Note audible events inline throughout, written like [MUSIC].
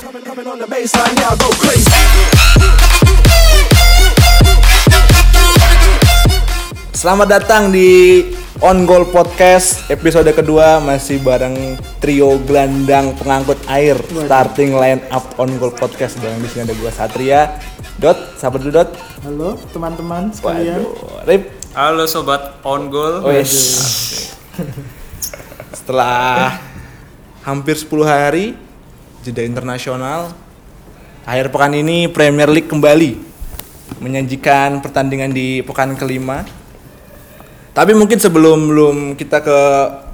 Coming, coming on the baseline, y'all go crazy. Selamat datang di On Goal Podcast episode kedua masih bareng trio gelandang pengangkut air starting line up On Goal Podcast dan di sini ada gua Satria Dot, sahabat dulu Dot. Halo teman-teman sekalian. Waduh, Rip. Halo sobat on goal. Wes. Setelah hampir 10 hari jeda internasional, akhir pekan ini Premier League kembali menyajikan pertandingan di pekan kelima. Tapi mungkin sebelum belum kita ke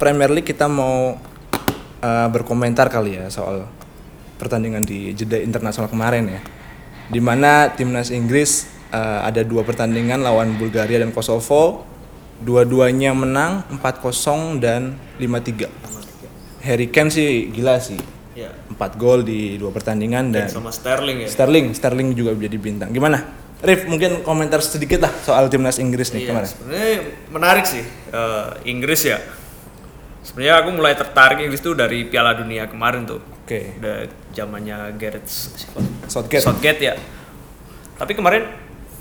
Premier League kita mau eh, berkomentar kali ya soal pertandingan di jeda internasional kemarin ya. Dimana timnas Inggris eh, ada dua pertandingan lawan Bulgaria dan Kosovo. Dua-duanya menang 4-0 dan 5-3. Harry Kane sih gila sih. Ya. 4 gol di dua pertandingan dan Sama Sterling ya. Sterling, Sterling juga menjadi bintang. Gimana? Rif, mungkin komentar sedikit lah soal timnas Inggris nih Iya, kemarin. sebenarnya menarik sih eh, Inggris ya. Sebenarnya aku mulai tertarik Inggris tuh dari Piala Dunia kemarin tuh. Oke. Udah zamannya Gareth siapa? Southgate. Southgate ya. Tapi kemarin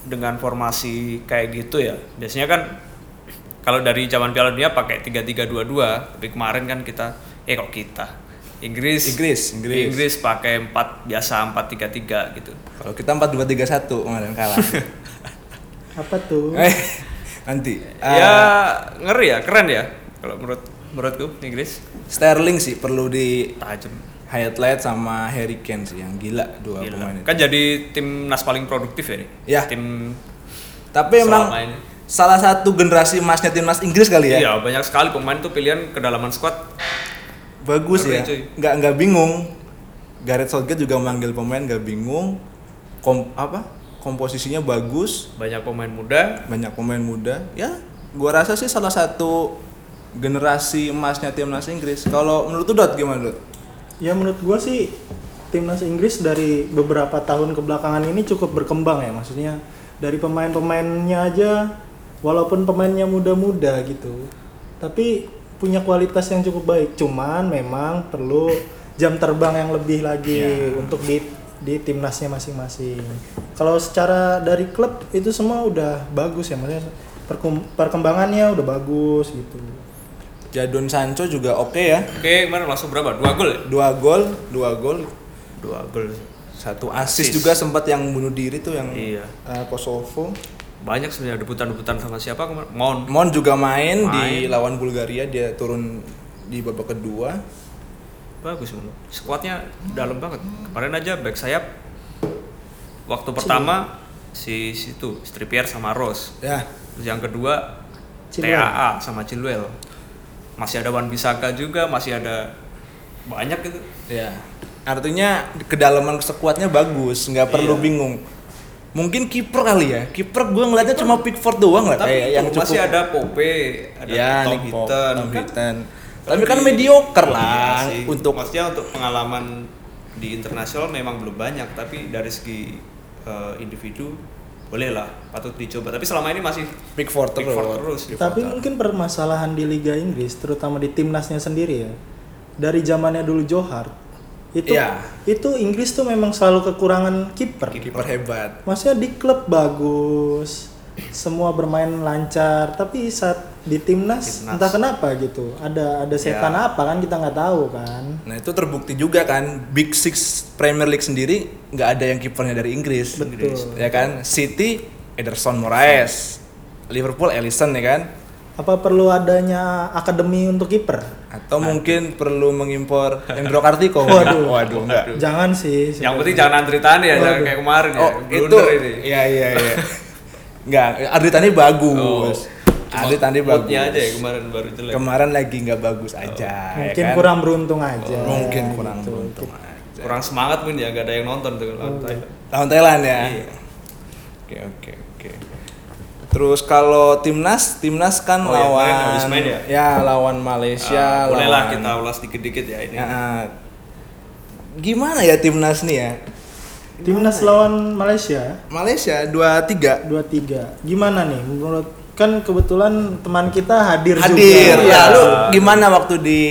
dengan formasi kayak gitu ya. Biasanya kan kalau dari zaman Piala Dunia pakai 3-3-2-2, tapi kemarin kan kita eh kok kita Inggris Inggris, Inggris. Inggris pakai 4 biasa 4-3-3 gitu. Kalau kita 4-2-3-1 kemarin [LAUGHS] kalah. Apa tuh? eh, nanti. ya Ah, ngeri ya keren ya kalau menurut menurutku Inggris Sterling sih perlu di tajam highlight sama Harry Kane sih yang gila dua Gila. pemain itu. kan jadi timnas paling produktif ya nih Ya. tim Tapi emang selama ini. salah satu generasi emasnya timnas Inggris kali ya. iya banyak sekali pemain tuh pilihan kedalaman squad Bagus ya. Keren, cuy. Nggak nggak bingung. Gareth Southgate juga manggil pemain nggak bingung. Kom apa? Komposisinya bagus. banyak pemain muda banyak pemain muda ya gua rasa sih salah satu generasi emasnya timnas Inggris kalau menurut lu, Dot gimana Dot? Ya menurut gua sih timnas Inggris dari beberapa tahun kebelakangan ini cukup berkembang ya maksudnya dari pemain-pemainnya aja walaupun pemainnya muda-muda gitu tapi punya kualitas yang cukup baik cuman memang perlu jam terbang yang lebih lagi untuk di di timnasnya masing-masing kalau secara dari klub itu semua udah bagus ya maksudnya perkum- perkembangannya udah bagus gitu Jadon Sancho juga oke ya oke kemarin langsung berapa dua gol ya? dua gol dua gol dua gol satu assist Assist. juga sempat yang bunuh diri tuh yang Iya. eh, Kosovo banyak sebenarnya debutan-debutan sama siapa kemarin Mount Mon juga main, Main. di lawan Bulgaria dia turun di babak kedua bagus menurut skuadnya dalam banget kemarin aja back sayap waktu pertama si situ Trippier sama Rose ya Terus yang kedua Chilwell. TAA sama Chilwell. Masih ada Wan Bisaka juga, masih ada banyak gitu. Ya. Artinya kedalaman sekuatnya bagus, nggak perlu Iya. bingung. Mungkin kiper kali ya. Kiper gue ngeliatnya cuma Pickford doang lah kayak Tapi yang cukup. masih ada Pope, ada ya, Tom Nick Pope, Hinton. Tom Kan- Hinton. Tapi kan mediocre lah Iya sih. untuk maksudnya untuk pengalaman di internasional memang belum banyak, tapi dari segi eh, individu bolehlah patut dicoba. Tapi selama ini masih Pickford terus. Pickford terus. Tapi mungkin permasalahan di Liga Inggris, terutama di timnasnya sendiri ya. Dari zamannya dulu Johar, itu Iya. itu Inggris tuh memang selalu kekurangan kiper. Kiper hebat. Maksudnya di klub bagus, semua bermain lancar, tapi saat di timnas, Timnas. entah kenapa gitu. Ada ada setan apa kan kita nggak tahu kan. Nah itu terbukti juga kan Big Six Premier League sendiri nggak ada yang kipernya dari Inggris. Betul. Ya kan City Ederson Moraes, Liverpool Alisson ya kan. Apa perlu adanya akademi untuk kiper? Atau mungkin perlu [LAUGHS] mengimpor Endro Kartiko. Waduh. Waduh enggak. Jangan sih. Yang penting jangan antri tani ya, jangan Waduh. kayak kemarin ya. Oh, itu. Blunder ini. Iya, iya, iya. Enggak, Adri Tani bagus. Cuma Adri Tani bagus. Oh. moodnya Oh. aja ya kemarin baru jelek. Kemarin lagi nggak bagus aja. ya Mungkin kan? kurang beruntung aja. mungkin kurang gitu. beruntung aja. kurang semangat mungkin ya gak ada yang nonton tuh lawan Thailand. Lawan Thailand ya. Iya. Oke, oke, oke. Terus kalau timnas, timnas kan Oh, iya, lawan kemarin habis main ya? lawan Malaysia, Ah, bolehlah lawan kita ulas dikit-dikit ya ini Ya, ah. gimana ya timnas nih ya? Timnas lawan Malaysia Malaysia 23 dua tiga gimana nih menurut kan kebetulan teman kita hadir, hadir juga Ah. ya lu gimana waktu di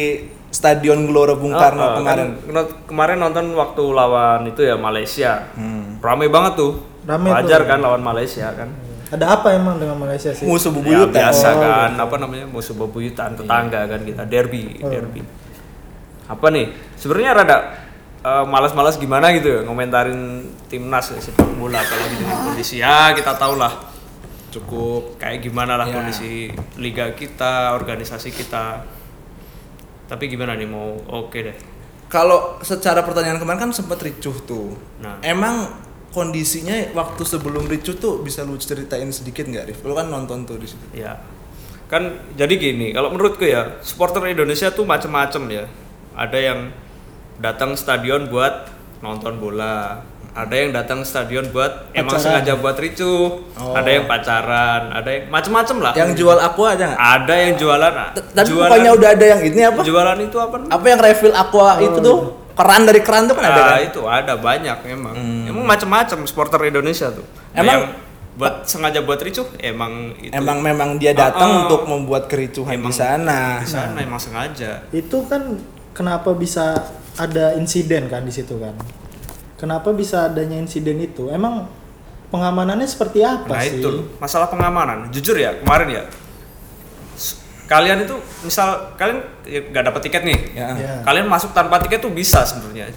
Stadion Gelora Bung Oh, Karno oh, kan kemarin. kena- kemarin nonton waktu lawan itu ya Malaysia. Hmm. Rame banget tuh. Rame tuh. Wajar kan lawan Malaysia kan. Ada apa emang dengan Malaysia sih? Musuh Ya, bebuyutan. biasa Oh, kan apa namanya musuh bebuyutan tetangga kan kita derby Oh. derby apa nih sebenarnya rada eh, malas-malas gimana gitu ya ngomentarin timnas ya, sepak bola kalau gitu kondisi ya kita tahu lah Cukup kayak gimana lah Ya. kondisi liga kita organisasi kita tapi gimana nih mau oke deh Kalau secara pertanyaan kemarin kan sempat ricuh tuh. Nah. Emang kondisinya waktu sebelum ricuh tuh bisa lu ceritain sedikit nggak, Rif? Lu kan nonton tuh di situ. Ya. Kan jadi gini, kalau menurutku ya, supporter Indonesia tuh macem-macem ya. Ada yang datang stadion buat nonton bola, ada yang datang stadion buat emang Pacaran. sengaja buat ricuh, Oh. ada yang pacaran, ada yang macem-macem lah. Yang jual aqua aja nggak? ada yang jualan, T- Tapi Ah. jualan, bukannya udah ada yang ini apa? jualan itu apa? namanya? Apa yang refill aqua itu tuh? Keran dari keran tuh kan ada Oh, iya. Ah, kan? Hmm. itu ada banyak emang. Emang macem-macem supporter Indonesia tuh. Ada Emang- yang buat sengaja buat ricuh, emang itu. Emang memang dia datang Ah, ah. untuk membuat kericuhan di Emang- sana. di sana emang sengaja. Itu kan kenapa bisa ada insiden kan di situ kan? Kenapa bisa adanya insiden itu? Emang pengamanannya seperti apa Nah sih? itu loh, masalah pengamanan. Jujur ya kemarin ya, s- kalian itu misal kalian ya, nggak dapat tiket nih, Ya. Ya. kalian masuk tanpa tiket tuh bisa sebenarnya.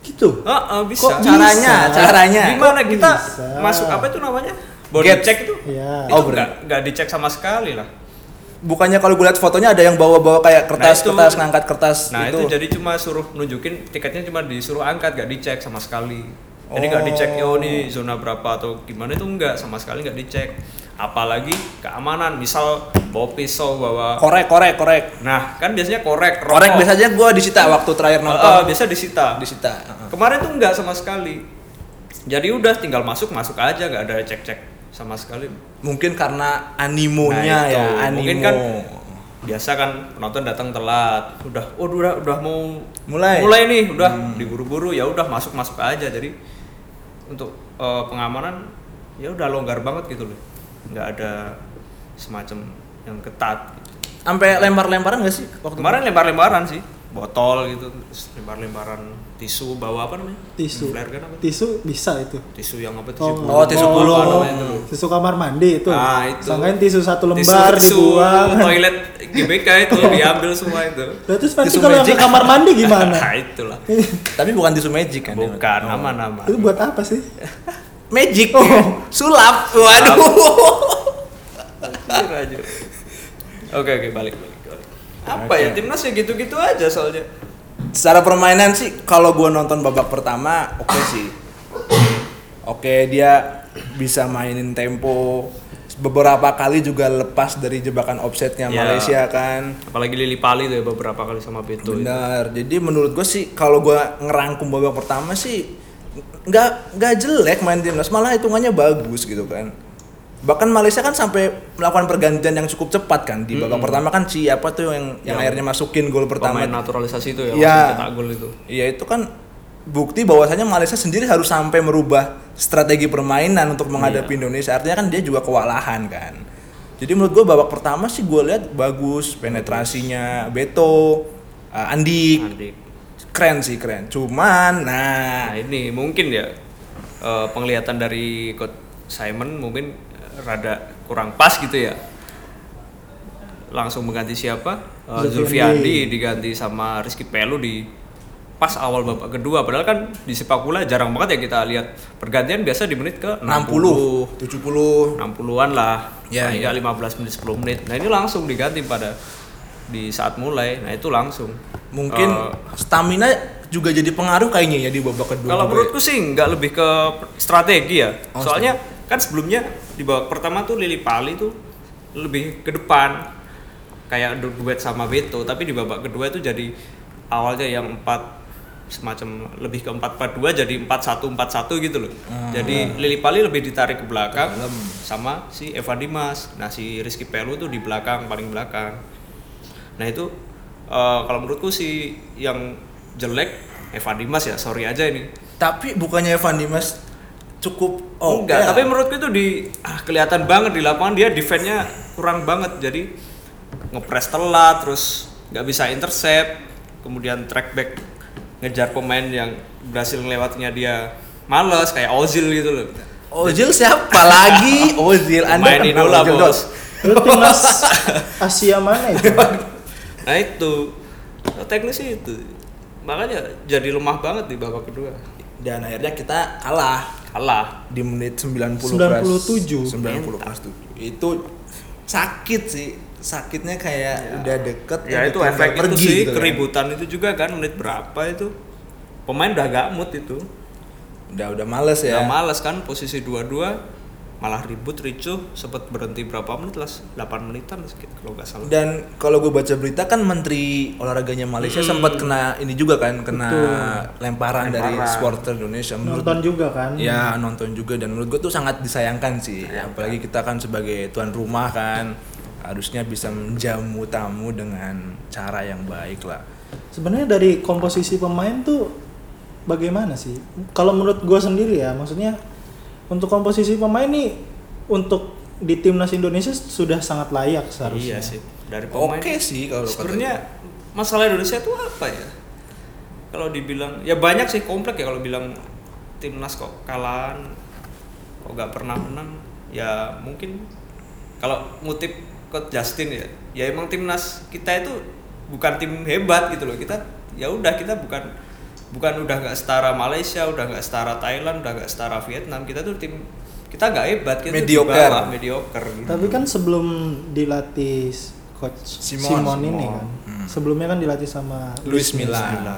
Gitu. Heeh, bisa. Kok bisa? Caranya, caranya. Gimana Kok kita bisa? masuk apa itu namanya? Body Gate. check itu? Ya. Itu Oh, berarti. nggak nggak dicek sama sekali lah. Bukannya kalau gue lihat fotonya ada yang bawa-bawa kayak kertas, Nah, itu- kertas, ngangkat kertas gitu. Nah itu. itu. jadi cuma suruh nunjukin tiketnya cuma disuruh angkat gak dicek sama sekali. Jadi Oh. nggak dicek ya oh nih zona berapa atau gimana itu enggak sama sekali nggak dicek. Apalagi keamanan misal bawa pisau bawa Korek, korek, korek. Nah, kan biasanya korek, rokok. Korek biasanya gue disita waktu terakhir Eh, eh, nonton. biasa disita. Disita. Kemarin tuh nggak sama sekali. Jadi udah tinggal masuk masuk aja nggak ada cek-cek sama sekali. Mungkin karena animonya Nah, itu. ya, animo. Mungkin kan Biasa kan penonton datang telat. Udah, oh udah udah mau Mulai. Hmm. mulai nih, udah diburu-buru ya udah masuk masuk aja. Jadi untuk eh, pengamanan ya udah longgar banget gitu loh. Nggak ada semacam yang ketat. Sampai lempar-lemparan gak sih waktu Kemarin lempar-lemparan sih, botol gitu, terus lempar-lemparan tisu bawa apa namanya? Tisu. Flare kan apa? Tisu bisa itu. Tisu yang apa tisu? Oh, tisu bulu. apa namanya itu? Tisu kamar mandi itu. Ah, itu. Sangkain tisu satu lembar tisu, dibuang. [LAUGHS] Tisu toilet GBK itu diambil semua itu. Lah, terus nanti Tisu kalau yang ke magic. kamar [LAUGHS] mandi gimana? nah, itulah. [LAUGHS] Tapi bukan tisu magic kan? Bukan Iya. Oh. aman-aman. itu buat apa sih? Magic. Oh. Sulap. Waduh. Anjir, anjir. Oke, oke, balik, balik, balik. Apa ya timnas ya gitu-gitu aja soalnya. [LAUGHS] Secara permainan sih kalau gua nonton babak pertama oke Ah. sih. Oke, dia bisa mainin tempo. Beberapa kali juga lepas dari jebakan offsetnya Ya. Malaysia kan. Apalagi Lili Pali tuh ya beberapa kali sama Beto. Gitu, itu. Benar. Jadi menurut gue sih kalau gua ngerangkum babak pertama sih nggak nggak jelek main timnas malah hitungannya bagus gitu kan. Bahkan Malaysia kan sampai melakukan pergantian yang cukup cepat kan di babak pertama kan siapa tuh yang yang Yang akhirnya masukin gol pertama. Pemain naturalisasi itu ya, Ya. langsung cetak gol itu. Iya itu kan bukti bahwasanya Malaysia sendiri harus sampai merubah strategi permainan untuk menghadapi Indonesia. Artinya kan dia juga kewalahan kan. Jadi menurut gue babak pertama sih gue lihat bagus penetrasinya Beto, uh, Andik, Andik. keren sih keren. Cuman nah Nah ini mungkin ya eh, penglihatan dari Coach Simon mungkin eh, rada kurang pas gitu ya. Langsung mengganti siapa? Eh, Zulfiandi. Zulfiandi diganti sama Rizky Pelu di pas awal babak kedua. Padahal kan di sepak bola jarang banget ya kita lihat pergantian biasa di menit ke 60. 60, 70. 60-an lah. Ya, Nah, ya. ya 15 menit 10 menit. Nah, ini langsung diganti pada di saat mulai. Nah, itu langsung. Mungkin Eh, stamina juga jadi pengaruh kayaknya ya di babak kedua. juga Kalau ya. menurutku sih nggak lebih ke strategi ya. Oh, Soalnya kan sebelumnya di babak pertama tuh Lili Pali tuh lebih ke depan kayak du- duet sama Beto, tapi di babak kedua itu jadi awalnya yang empat semacam lebih ke 4-4-2 jadi 4-1-4-1 gitu loh. Ah, Jadi iya. Lili Pali lebih ditarik ke belakang sama si Evan Dimas. Nah, si Rizky Pelu tuh di belakang paling belakang. Nah, itu eh, kalau menurutku si yang jelek Evan Dimas ya, sorry aja ini. tapi bukannya Evan Dimas cukup oh Oh, enggak, tapi menurutku itu di ah, kelihatan banget di lapangan dia defense-nya kurang banget. Jadi ngepres telat terus nggak bisa intercept. kemudian track back ngejar pemain yang berhasil melewatinya dia males kayak Ozil gitu loh. Ozil siapa [LAUGHS] lagi? Ozil Anda Pemain kenal idola, Ozil Bos. Dot? Lu timnas Asia mana itu? Nah itu Nah, teknis itu makanya jadi lemah banget di babak kedua Dan akhirnya kita kalah kalah di menit 90 97. Pras, 90 pras tujuh. Itu sakit sih. Sakitnya kayak udah deket udah ya itu tinggal efek itu pergi sih gitu kan. keributan itu juga kan menit berapa itu pemain udah gak mood itu Udah udah males ya. Udah males kan posisi dua-dua malah ribut ricuh sempat berhenti berapa menit lah 8 menitan sedikit kalau nggak salah Dan kalau gue baca berita kan menteri olahraganya Malaysia sempat kena ini juga kan kena lemparan, dari Lemparan. supporter Indonesia menurut Nonton juga kan? ya nonton juga dan menurut gue tuh sangat disayangkan sih apalagi kita kan sebagai tuan rumah kan harusnya bisa menjamu tamu dengan cara yang baik lah Sebenarnya dari komposisi pemain tuh bagaimana sih? Kalau menurut gua sendiri ya, maksudnya untuk komposisi pemain nih untuk di timnas Indonesia sudah sangat layak seharusnya. iya sih dari pemain oke sih kalau kata sebenarnya masalah Indonesia itu apa ya kalau dibilang ya banyak sih komplek ya kalau bilang timnas kok kalahan kok nggak pernah menang ya mungkin kalau ngutip ke Justin ya ya emang timnas kita itu bukan tim hebat gitu loh kita ya udah kita bukan bukan udah nggak setara Malaysia udah nggak setara Thailand udah nggak setara Vietnam kita tuh tim kita nggak hebat kita tuh di Mediocre. bawah, mediocre gitu. Tapi kan sebelum dilatih coach Simon. Simon, ini kan, sebelumnya kan dilatih sama Luis Milla.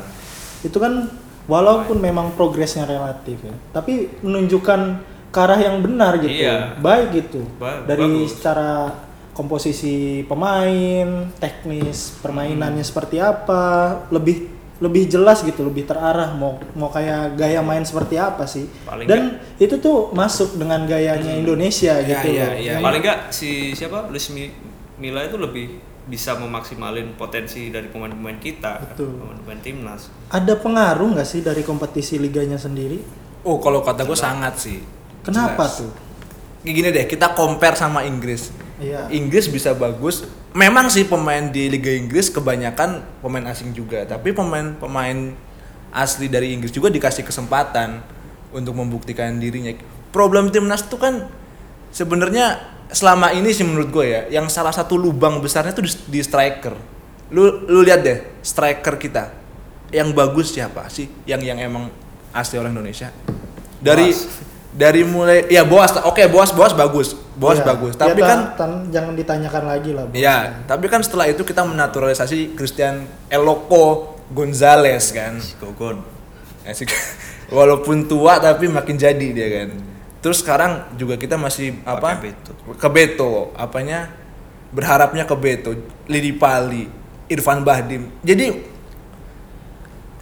Itu kan walaupun memang progresnya relatif ya, tapi menunjukkan ke arah yang benar gitu, Iya. baik gitu. Ba- Dari bagus. secara komposisi pemain, teknis permainannya Hmm. seperti apa, lebih lebih jelas gitu, lebih terarah mau mau kayak gaya main seperti apa sih. Paling Hmm. Dan itu tuh masuk dengan gayanya Iya, Indonesia gitu. iya, loh. iya. paling nggak si siapa Luis Mi- Milla itu lebih bisa memaksimalin potensi dari pemain-pemain kita kan, Betul. pemain-pemain timnas Ada pengaruh nggak sih dari kompetisi liganya sendiri? oh kalau kata gue sangat sih Kenapa Jelas. tuh? kayak gini deh kita compare sama Inggris Iya. Inggris bisa bagus memang sih pemain di Liga Inggris kebanyakan pemain asing juga tapi pemain pemain asli dari Inggris juga dikasih kesempatan untuk membuktikan dirinya problem timnas tuh kan sebenarnya selama ini sih menurut gue ya yang salah satu lubang besarnya tuh di, di striker lu lu lihat deh striker kita yang bagus siapa sih yang yang emang asli orang Indonesia dari Boas. dari mulai ya Boas oke Boas Boas bagus Boas Iya. bagus Ya, tapi ta- kan tan- jangan ditanyakan lagi lah. Bos. ya tapi kan setelah itu kita menaturalisasi Christian Eloko Gonzales kan si Gogon Ya, si- [LAUGHS] walaupun tua tapi makin jadi dia kan terus sekarang juga kita masih apa Pakai Beto. ke Beto apanya berharapnya ke Beto Lidi Pali Irfan Bahdim jadi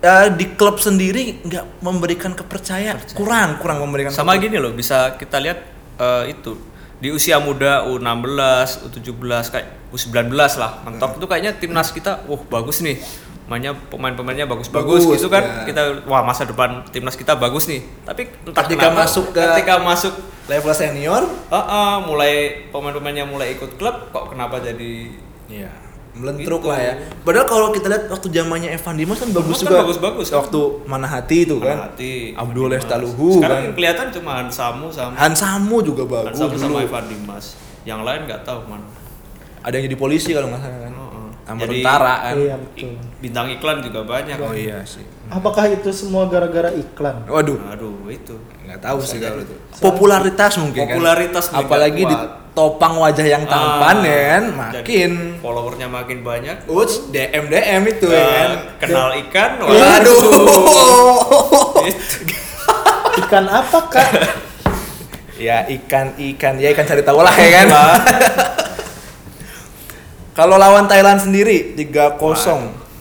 eh, di klub sendiri nggak memberikan kepercayaan kurang kurang memberikan sama gini loh bisa kita lihat eh, itu di usia muda U16, U17 kayak U19 lah mentok itu kayaknya timnas kita wah bagus nih mainnya pemain-pemainnya bagus-bagus Bagus, gitu kan ya. kita wah masa depan timnas kita bagus nih tapi entah Ketika kenapa, masuk ke- ketika masuk level senior ah, ah, mulai pemain-pemainnya mulai ikut klub kok kenapa jadi Iya. Melentruk Gitu. lah ya. Padahal kalau kita lihat waktu zamannya Evan Dimas kan bagus kan juga. bagus-bagus kan. Waktu mana hati itu kan. Mana hati Abdul Dimas. Lestaluhu sekarang yang kan. kelihatan cuma Hansamu sama Hansamu juga bagus Hansamu dulu. sama Evan Dimas yang lain nggak tahu mana Ada yang jadi polisi kalau nggak salah kan. Heeh. Sama Jadi- tentara kan. Iya betul. bintang iklan juga banyak Oh iya sih. Apakah itu semua gara-gara iklan? Waduh, aduh itu nggak tahu sih kalau itu. Popularitas mungkin kan. Popularitas meningkat apalagi kuat. ditopang wajah yang tampan Ah, ya kan, jadi makin followernya makin banyak Uts, DM DM itu ya Eh, kan. kenal ikan Waduh. [LAUGHS] Ikan apa kak? [LAUGHS] ya ikan ikan ya ikan cari tahu lah ya kan. [LAUGHS] Kalau lawan Thailand sendiri 3-0.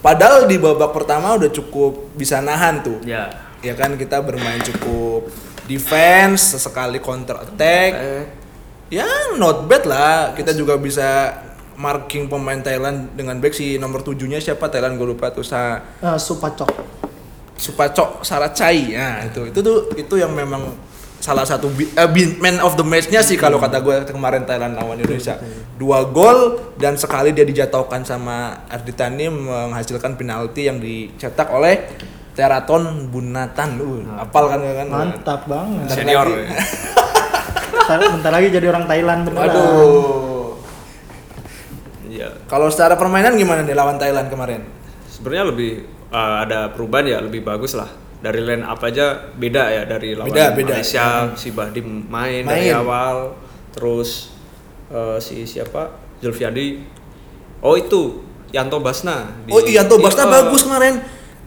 Padahal di babak pertama udah cukup bisa nahan tuh. ya Ya kan kita bermain cukup defense sesekali counter attack. eh, Ya not bad lah. Kita juga bisa marking pemain Thailand dengan back si nomor tujuhnya siapa Thailand gue lupa tuh sa Eh, supacok. Supacok Saracai. Nah, itu itu tuh itu yang memang salah satu bi- eh, bin- man of the match-nya sih kalau kata gue kemarin Thailand lawan Indonesia. Dua gol dan sekali dia dijatuhkan sama Arditani menghasilkan penalti yang dicetak oleh Teraton Bunatan. Uh, apal kan kan? Mantap banget. Senior. lagi. ya. Bentar, bentar lagi jadi orang Thailand beneran. Waduh. Iya. Kalau secara permainan gimana nih lawan Thailand kemarin? Sebenarnya lebih eh, ada perubahan ya, lebih bagus lah. Dari line up aja beda ya dari lawan Beda, beda. Hmm. Malaysia, si Bahdim main, dari Main. awal, terus eh, si siapa? Zulfiadi. Oh itu Yanto Basna. di- Oh iya, Yanto di- Basna eh, bagus kemarin.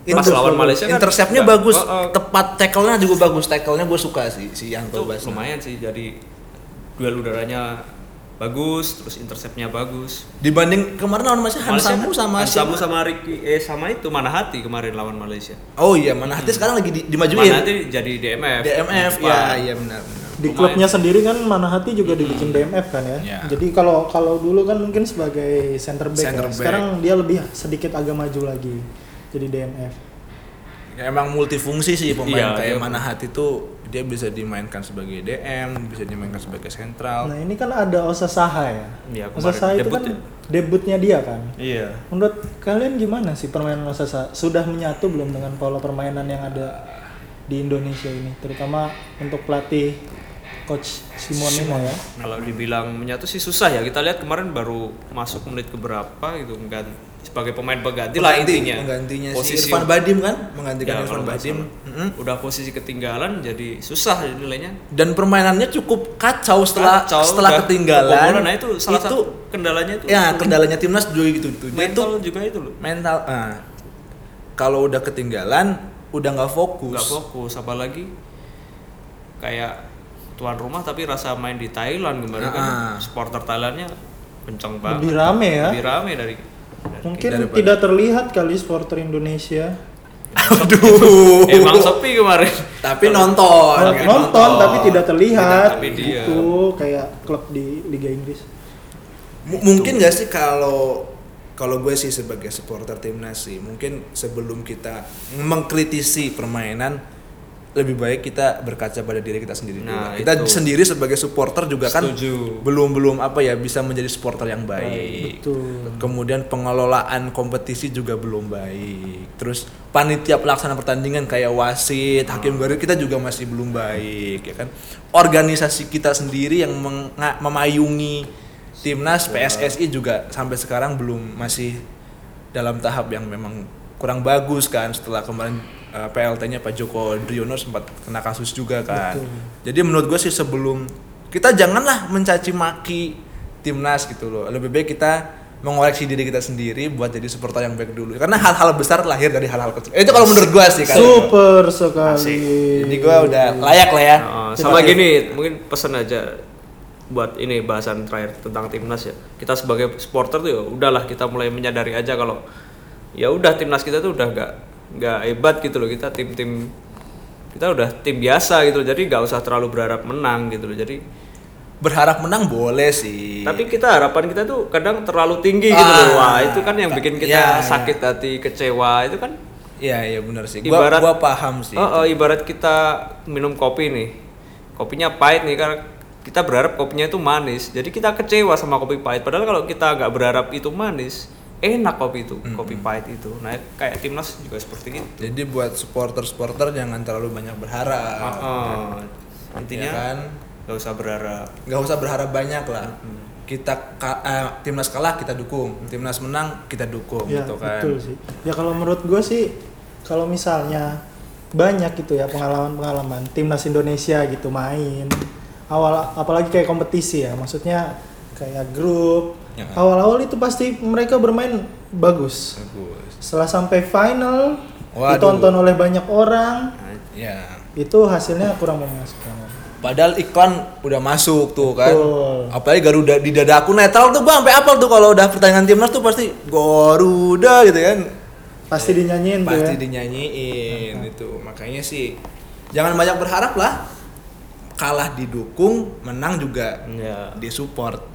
Pas lawan Malaysia kan interceptnya nggak- bagus, Oh, oh. tepat tackle-nya juga bagus. Tackle-nya gue suka sih si itu Yanto Basna. lumayan sih jadi duel udaranya bagus terus interceptnya bagus Dibanding kemarin lawan Malaysia Malaysia Hansamu kan- sama Hansamu siapa? sama Ricky eh sama itu Manahati kemarin lawan Malaysia Oh iya, mana Hmm. hati sekarang lagi di- dimajuin. Manahati jadi DMF DMF Lupa. ya, iya benar benar. Di Lumayan. klubnya sendiri kan Manahati juga dibikin DMF kan ya. Ya. Jadi kalau kalau dulu kan mungkin sebagai center back, Center ya. back. sekarang dia lebih sedikit agak maju lagi. Jadi DMF. Ya, emang multifungsi sih pemain Iya, kayak iya. mana hati itu dia bisa dimainkan sebagai DM, bisa dimainkan sebagai sentral. Nah, ini kan ada Osa Saha ya. Iya, Osa kemarin. Saha itu Debut kan ya? debutnya dia kan. iya Menurut kalian gimana sih permainan Osa Saha? Sudah menyatu belum dengan pola permainan yang ada di Indonesia ini, terutama untuk pelatih coach Simonino ya? kalau dibilang menyatu sih susah ya kita lihat kemarin baru masuk menit keberapa gitu mengganti sebagai pemain pengganti lah Pengganti- intinya Menggantinya posisi si Irfan Badim kan, menggantikan Ya, Irfan kalau nggak Badim. salah. Mm-mm. udah posisi ketinggalan jadi susah nilainya Dan permainannya cukup kacau setelah Kacau, setelah udah ketinggalan. kebobolan. nah itu salah satu kendalanya itu ya kendalanya timnas juga gitu tuh. Dia tuh mental juga itu loh mental ah. kalau udah ketinggalan udah nggak fokus. nggak fokus apalagi kayak tuan rumah tapi rasa main di Thailand kemarin kan Ah. supporter Thailandnya kenceng banget Lebih rame ya. lebih rame dari, dari Mungkin Daripada- tidak terlihat kali supporter Indonesia. [LAUGHS] Aduh. emang sepi kemarin tapi nonton. Nonton, kan? nonton. tapi tidak terlihat. Tapi dia- Itu kayak klub di Liga Inggris. M- mungkin nggak sih kalau kalau gue sih sebagai supporter timnas sih mungkin sebelum kita mengkritisi permainan lebih baik kita berkaca pada diri kita sendiri dulu. Nah, kita itu. sendiri sebagai supporter juga kan Setuju. belum belum apa ya bisa menjadi supporter yang baik. Betul. Kemudian pengelolaan kompetisi juga belum baik. Terus panitia pelaksana pertandingan kayak wasit, hakim garis kita juga masih belum baik ya kan. Organisasi kita sendiri yang meng- nga- memayungi timnas PSSI juga sampai sekarang belum masih dalam tahap yang memang kurang bagus kan setelah kemarin eh, PLT-nya Pak Joko Driono sempat kena kasus juga kan. Betul. Jadi menurut gue sih sebelum kita janganlah mencaci maki timnas gitu loh. Lebih baik kita mengoreksi diri kita sendiri buat jadi supporter yang baik dulu. Karena hal-hal besar lahir dari hal-hal kecil. Eh, Itu kalau menurut gue sih kan. Super sekali. Asik. Jadi gue udah layak lah ya. Nah, sama gini mungkin pesan aja buat ini bahasan terakhir tentang timnas ya kita sebagai supporter tuh ya udahlah kita mulai menyadari aja kalau ya udah timnas kita tuh udah nggak nggak hebat gitu loh kita tim tim kita udah tim biasa gitu loh. jadi nggak usah terlalu berharap menang gitu loh jadi Berharap menang boleh sih. tapi kita harapan kita tuh kadang terlalu tinggi gitu Iya. Ah, loh wah itu kan yang ya, bikin kita ya. sakit hati kecewa itu kan Iya, iya benar sih. Gua Ibarat- gua paham sih. Oh, oh, ibarat kita minum kopi nih. Kopinya pahit nih karena kita berharap kopinya itu manis. Jadi kita kecewa sama kopi pahit. Padahal kalau kita nggak berharap itu manis, enak kopi itu, kopi pahit itu. Nah, kayak timnas juga seperti itu. Jadi buat supporter-supporter jangan terlalu banyak berharap. Oh, intinya Ya kan? nggak usah berharap. nggak usah berharap banyak lah kita ka- eh, timnas kalah kita dukung timnas menang kita dukung Ya, gitu kan betul sih. Ya kalau menurut gue sih kalau misalnya banyak gitu ya pengalaman-pengalaman timnas Indonesia gitu main awal apalagi kayak kompetisi ya maksudnya kayak grup Ya. awal-awal itu pasti mereka bermain bagus bagus setelah sampai final Waduh. ditonton oleh banyak orang ya itu hasilnya kurang memuaskan padahal iklan udah masuk tuh kan Betul. apalagi Garuda di dada aku netral tuh gua sampai apal tuh kalau udah pertandingan timnas tuh pasti Garuda gitu kan pasti dinyanyiin tuh pasti ya dinyanyiin itu makanya sih jangan banyak berharap lah kalah didukung menang juga Ya, disupport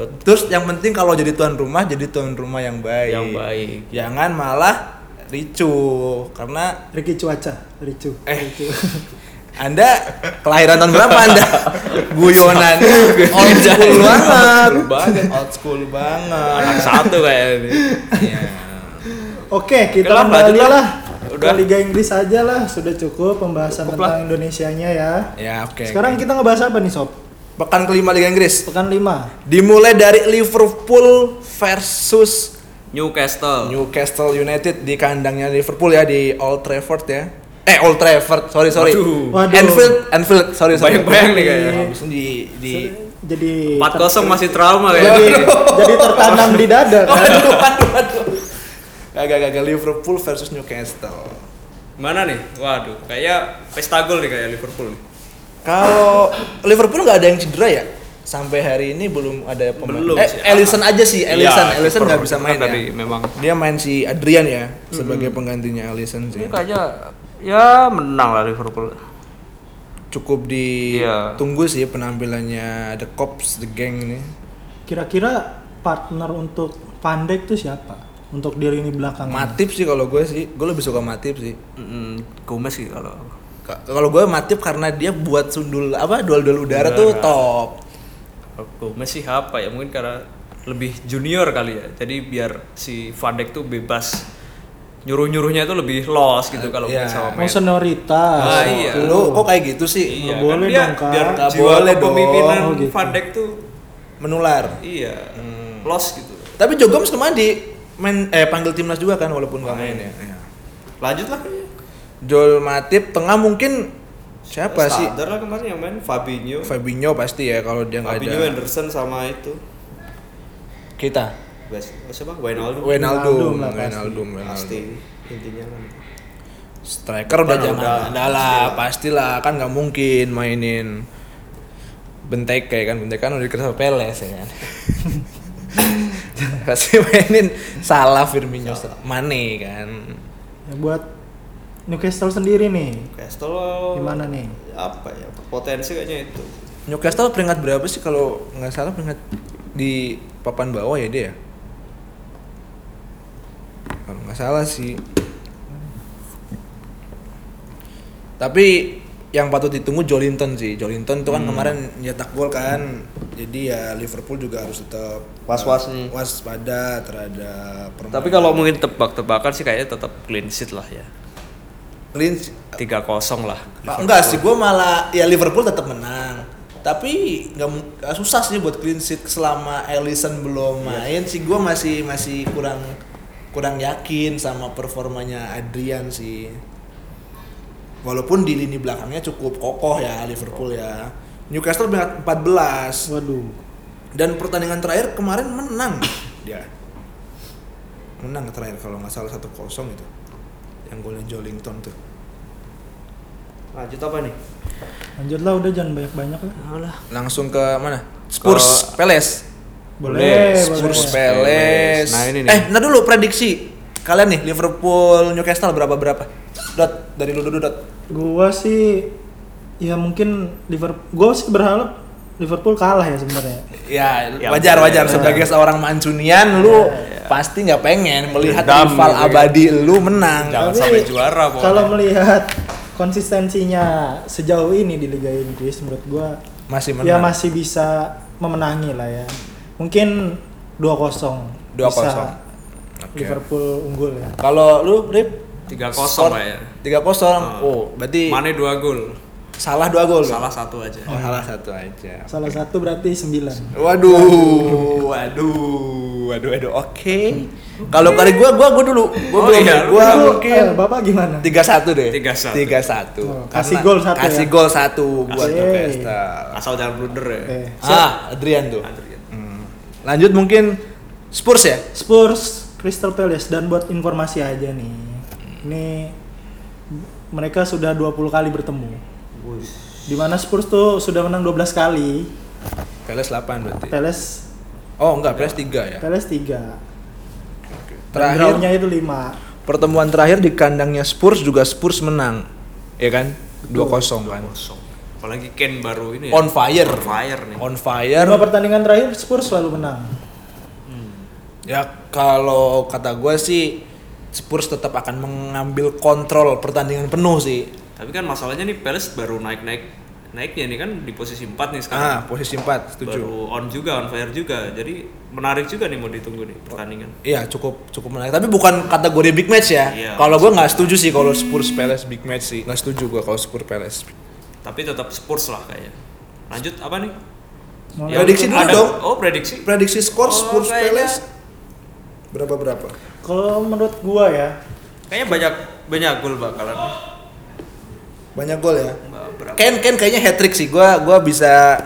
bet- Terus yang penting kalau jadi tuan rumah jadi tuan rumah yang baik. Yang baik. Jangan malah ricuh karena Ricky cuaca Ricu eh Anda kelahiran tahun berapa [LAUGHS] Anda? Guyonan. Old school banget. banget. Old school banget. [LAUGHS] Anak satu kayak ini. Iya. Oke, kita Oke lah, kembali lanjut lah. lah. Udah. Ke Liga Inggris aja lah, sudah cukup pembahasan Cukup tentang Indonesianya ya. Ya, oke. Sekarang kita ngebahas apa nih, Sob? pekan kelima Liga Inggris Pekan 5. dimulai dari Liverpool versus Newcastle. Newcastle United di kandangnya Liverpool ya di Old Trafford ya. Eh Old Trafford, sorry sorry. Waduh. Waduh. Anfield, Anfield, sorry sorry. Bayang-bayang nih kayaknya. Habis itu di di Jadi 4-0 masih trauma jadi, [LAUGHS] kayaknya. jadi tertanam di dada kan? [LAUGHS] Waduh, waduh, waduh. Gagal-gagal Liverpool versus Newcastle. Mana nih? Waduh, kayaknya pesta gol nih kayak Liverpool nih. Kalau Liverpool nggak ada yang cedera ya? Sampai hari ini belum ada pemain. Belum eh, sih. Ah. Iya, Alisson aja sih, Alisson, Alisson nggak bisa main tadi ya. memang. Dia main si Adrian ya sebagai penggantinya Alisson sih. Ini kayaknya ya menang lah Liverpool. Cukup Iya. ditunggu sih penampilannya The Cops, The Gang ini. Kira-kira partner untuk Pandek tuh siapa? Untuk di lini belakang. Matip sih kalau gue sih, gue lebih suka Matip sih. Mm, Gomez sih kalau Ka- Kalau gue Matip karena dia buat sundul apa duel-duel udara tuh Udara. top. kalau Oh, Gomez sih apa ya? Mungkin karena lebih junior kali ya. Jadi biar si Van Dijk tuh bebas nyuruh-nyuruhnya itu lebih los gitu kalau Iya. sama Oh, main. senioritas. Ah, iya. Oke. Nah, Lu kok kayak gitu sih? Nggak Iya, boleh kan dia dong, Kak. biar Nggak jiwa boleh kepemimpinan dong. Oh, gitu. Van Dijk tuh Menular. iya los gitu. Tapi Jogoms kemarin di main eh panggil timnas juga kan walaupun nggak main ya. Iya. Lanjut lah. Joel Matip tengah mungkin siapa sih? Standar lah kemarin yang main Fabinho. Fabinho pasti ya kalau dia nggak Fabinho ada. Anderson sama itu. Kita. Wes- siapa? Wijnaldum. Wijnaldum, Wijnaldum lah pasti. Wijnaldum, pasti Wijnaldum. intinya kan. Striker udah Kan jangan udah. ada lah, pastilah kan nggak mungkin mainin Benteke kan, Benteke kan udah di Crystal Palace ya kan. [LAUGHS] Pasti mainin salah Firmino, Mane kan. Ya, buat Newcastle sendiri nih. Castle Gimana nih? Apa ya? Potensi kayaknya itu. Newcastle peringkat berapa sih kalau nggak salah peringkat di papan bawah ya dia? ya? Kalau nggak salah sih. Tapi yang patut ditunggu Jolinton sih. Jolinton tuh kan Hmm. kemarin nyetak gol kan. Jadi ya Liverpool juga harus tetap eh, Was-was nih. waspada terhadap permainan. Tapi kalau mungkin tebak-tebakan sih kayaknya tetap clean sheet lah ya. Lynch 3-0 lah. Ah, enggak sih, gue malah ya Liverpool tetap menang. Tapi nggak mu- nggak susah sih buat clean sheet selama Alisson belum main sih. Gue masih masih kurang kurang yakin sama performanya Adrian sih. Walaupun di lini belakangnya cukup kokoh ya Liverpool ya. Newcastle peringkat 14 Waduh. dan pertandingan terakhir kemarin menang dia. Menang terakhir kalau nggak salah 1-0 itu. Yang golnya Jolington tuh. Lanjut apa nih? Lanjutlah udah jangan banyak-banyak lah. Alah. langsung ke mana? Spurs Peles. Boleh, boleh. Spurs Peles. Peles. Nah, ini nih. Eh, ntar dulu prediksi kalian nih Liverpool Newcastle berapa berapa? Dot dari lu dulu dot. Gua sih ya mungkin Liverpool gua sih berharap Liverpool kalah ya sebenarnya. Ya, Ya, wajar wajar ya. sebagai seorang Mancunian lu pasti nggak pengen melihat Dendam rival gitu ya. abadi lu menang. Jangan sampai juara, pokoknya. Kalau melihat konsistensinya sejauh ini di Liga Inggris menurut gua Masih ya menang. masih bisa memenangi lah ya. Mungkin 2-0. 2-0. 2-0. Oke. Liverpool unggul ya. Kalau lu Rip 3-0 skor lah ya. Ah. 3-0. Oh, berarti Mane 2 gol. salah dua gol. dong? Salah satu aja. Oh, salah satu aja. Salah satu berarti 9. Waduh, waduh, waduh, waduh. Oke. Kalau kali gua, gua, gua dulu. Gua Oh belum- ya. iya, gua Lu, mungkin eh, Bapak gimana? tiga satu deh. 3-1. 3-1. Oh, Karena kasih gol satu Kasih ya? gol satu buat Asik. Newcastle. Asal jangan blunder ya. Oke. Ah, Adrian tuh. Hmm. Lanjut mungkin Spurs ya. Spurs, Crystal Palace dan buat informasi aja nih. Ini mereka sudah 20 kali bertemu. Di mana Spurs tuh sudah menang 12 kali, Peles 8 Iya. berarti. Palace Oh, enggak, Peles 3 ya. Palace 3. Terakhir Terakhirnya itu 5. pertemuan terakhir di kandangnya Spurs juga Spurs menang. Ya kan? 2-0 kan. Kosong. Apalagi Ken baru ini ya. On fire. On fire nih. On Iya. fire. Lima pertandingan terakhir Spurs selalu menang. Ya kalau kata gue sih Spurs tetap akan mengambil kontrol pertandingan penuh sih. Tapi kan masalahnya nih Palace baru naik-naik naiknya nih kan di posisi 4 nih sekarang. Ah, posisi 4, setuju. baru on juga, on fire juga. Jadi menarik juga nih mau ditunggu nih pertandingan. Iya, cukup cukup menarik. Tapi bukan kategori big match ya. Iya. Kalau gue nggak setuju sih kalau Spurs Palace big match sih. Nggak setuju gue kalau Spurs Palace. Tapi tetap Spurs lah kayaknya. Lanjut apa nih? Mau Ya, prediksi dulu ada- dong. Oh, prediksi. Prediksi skor Oh, Spurs kayaknya- Palace berapa berapa? Kalau menurut gua ya, Kayaknya banyak banyak gol bakalan. Banyak gol ya. Berapa? Ken Ken kayaknya hat trick sih. Gua gua bisa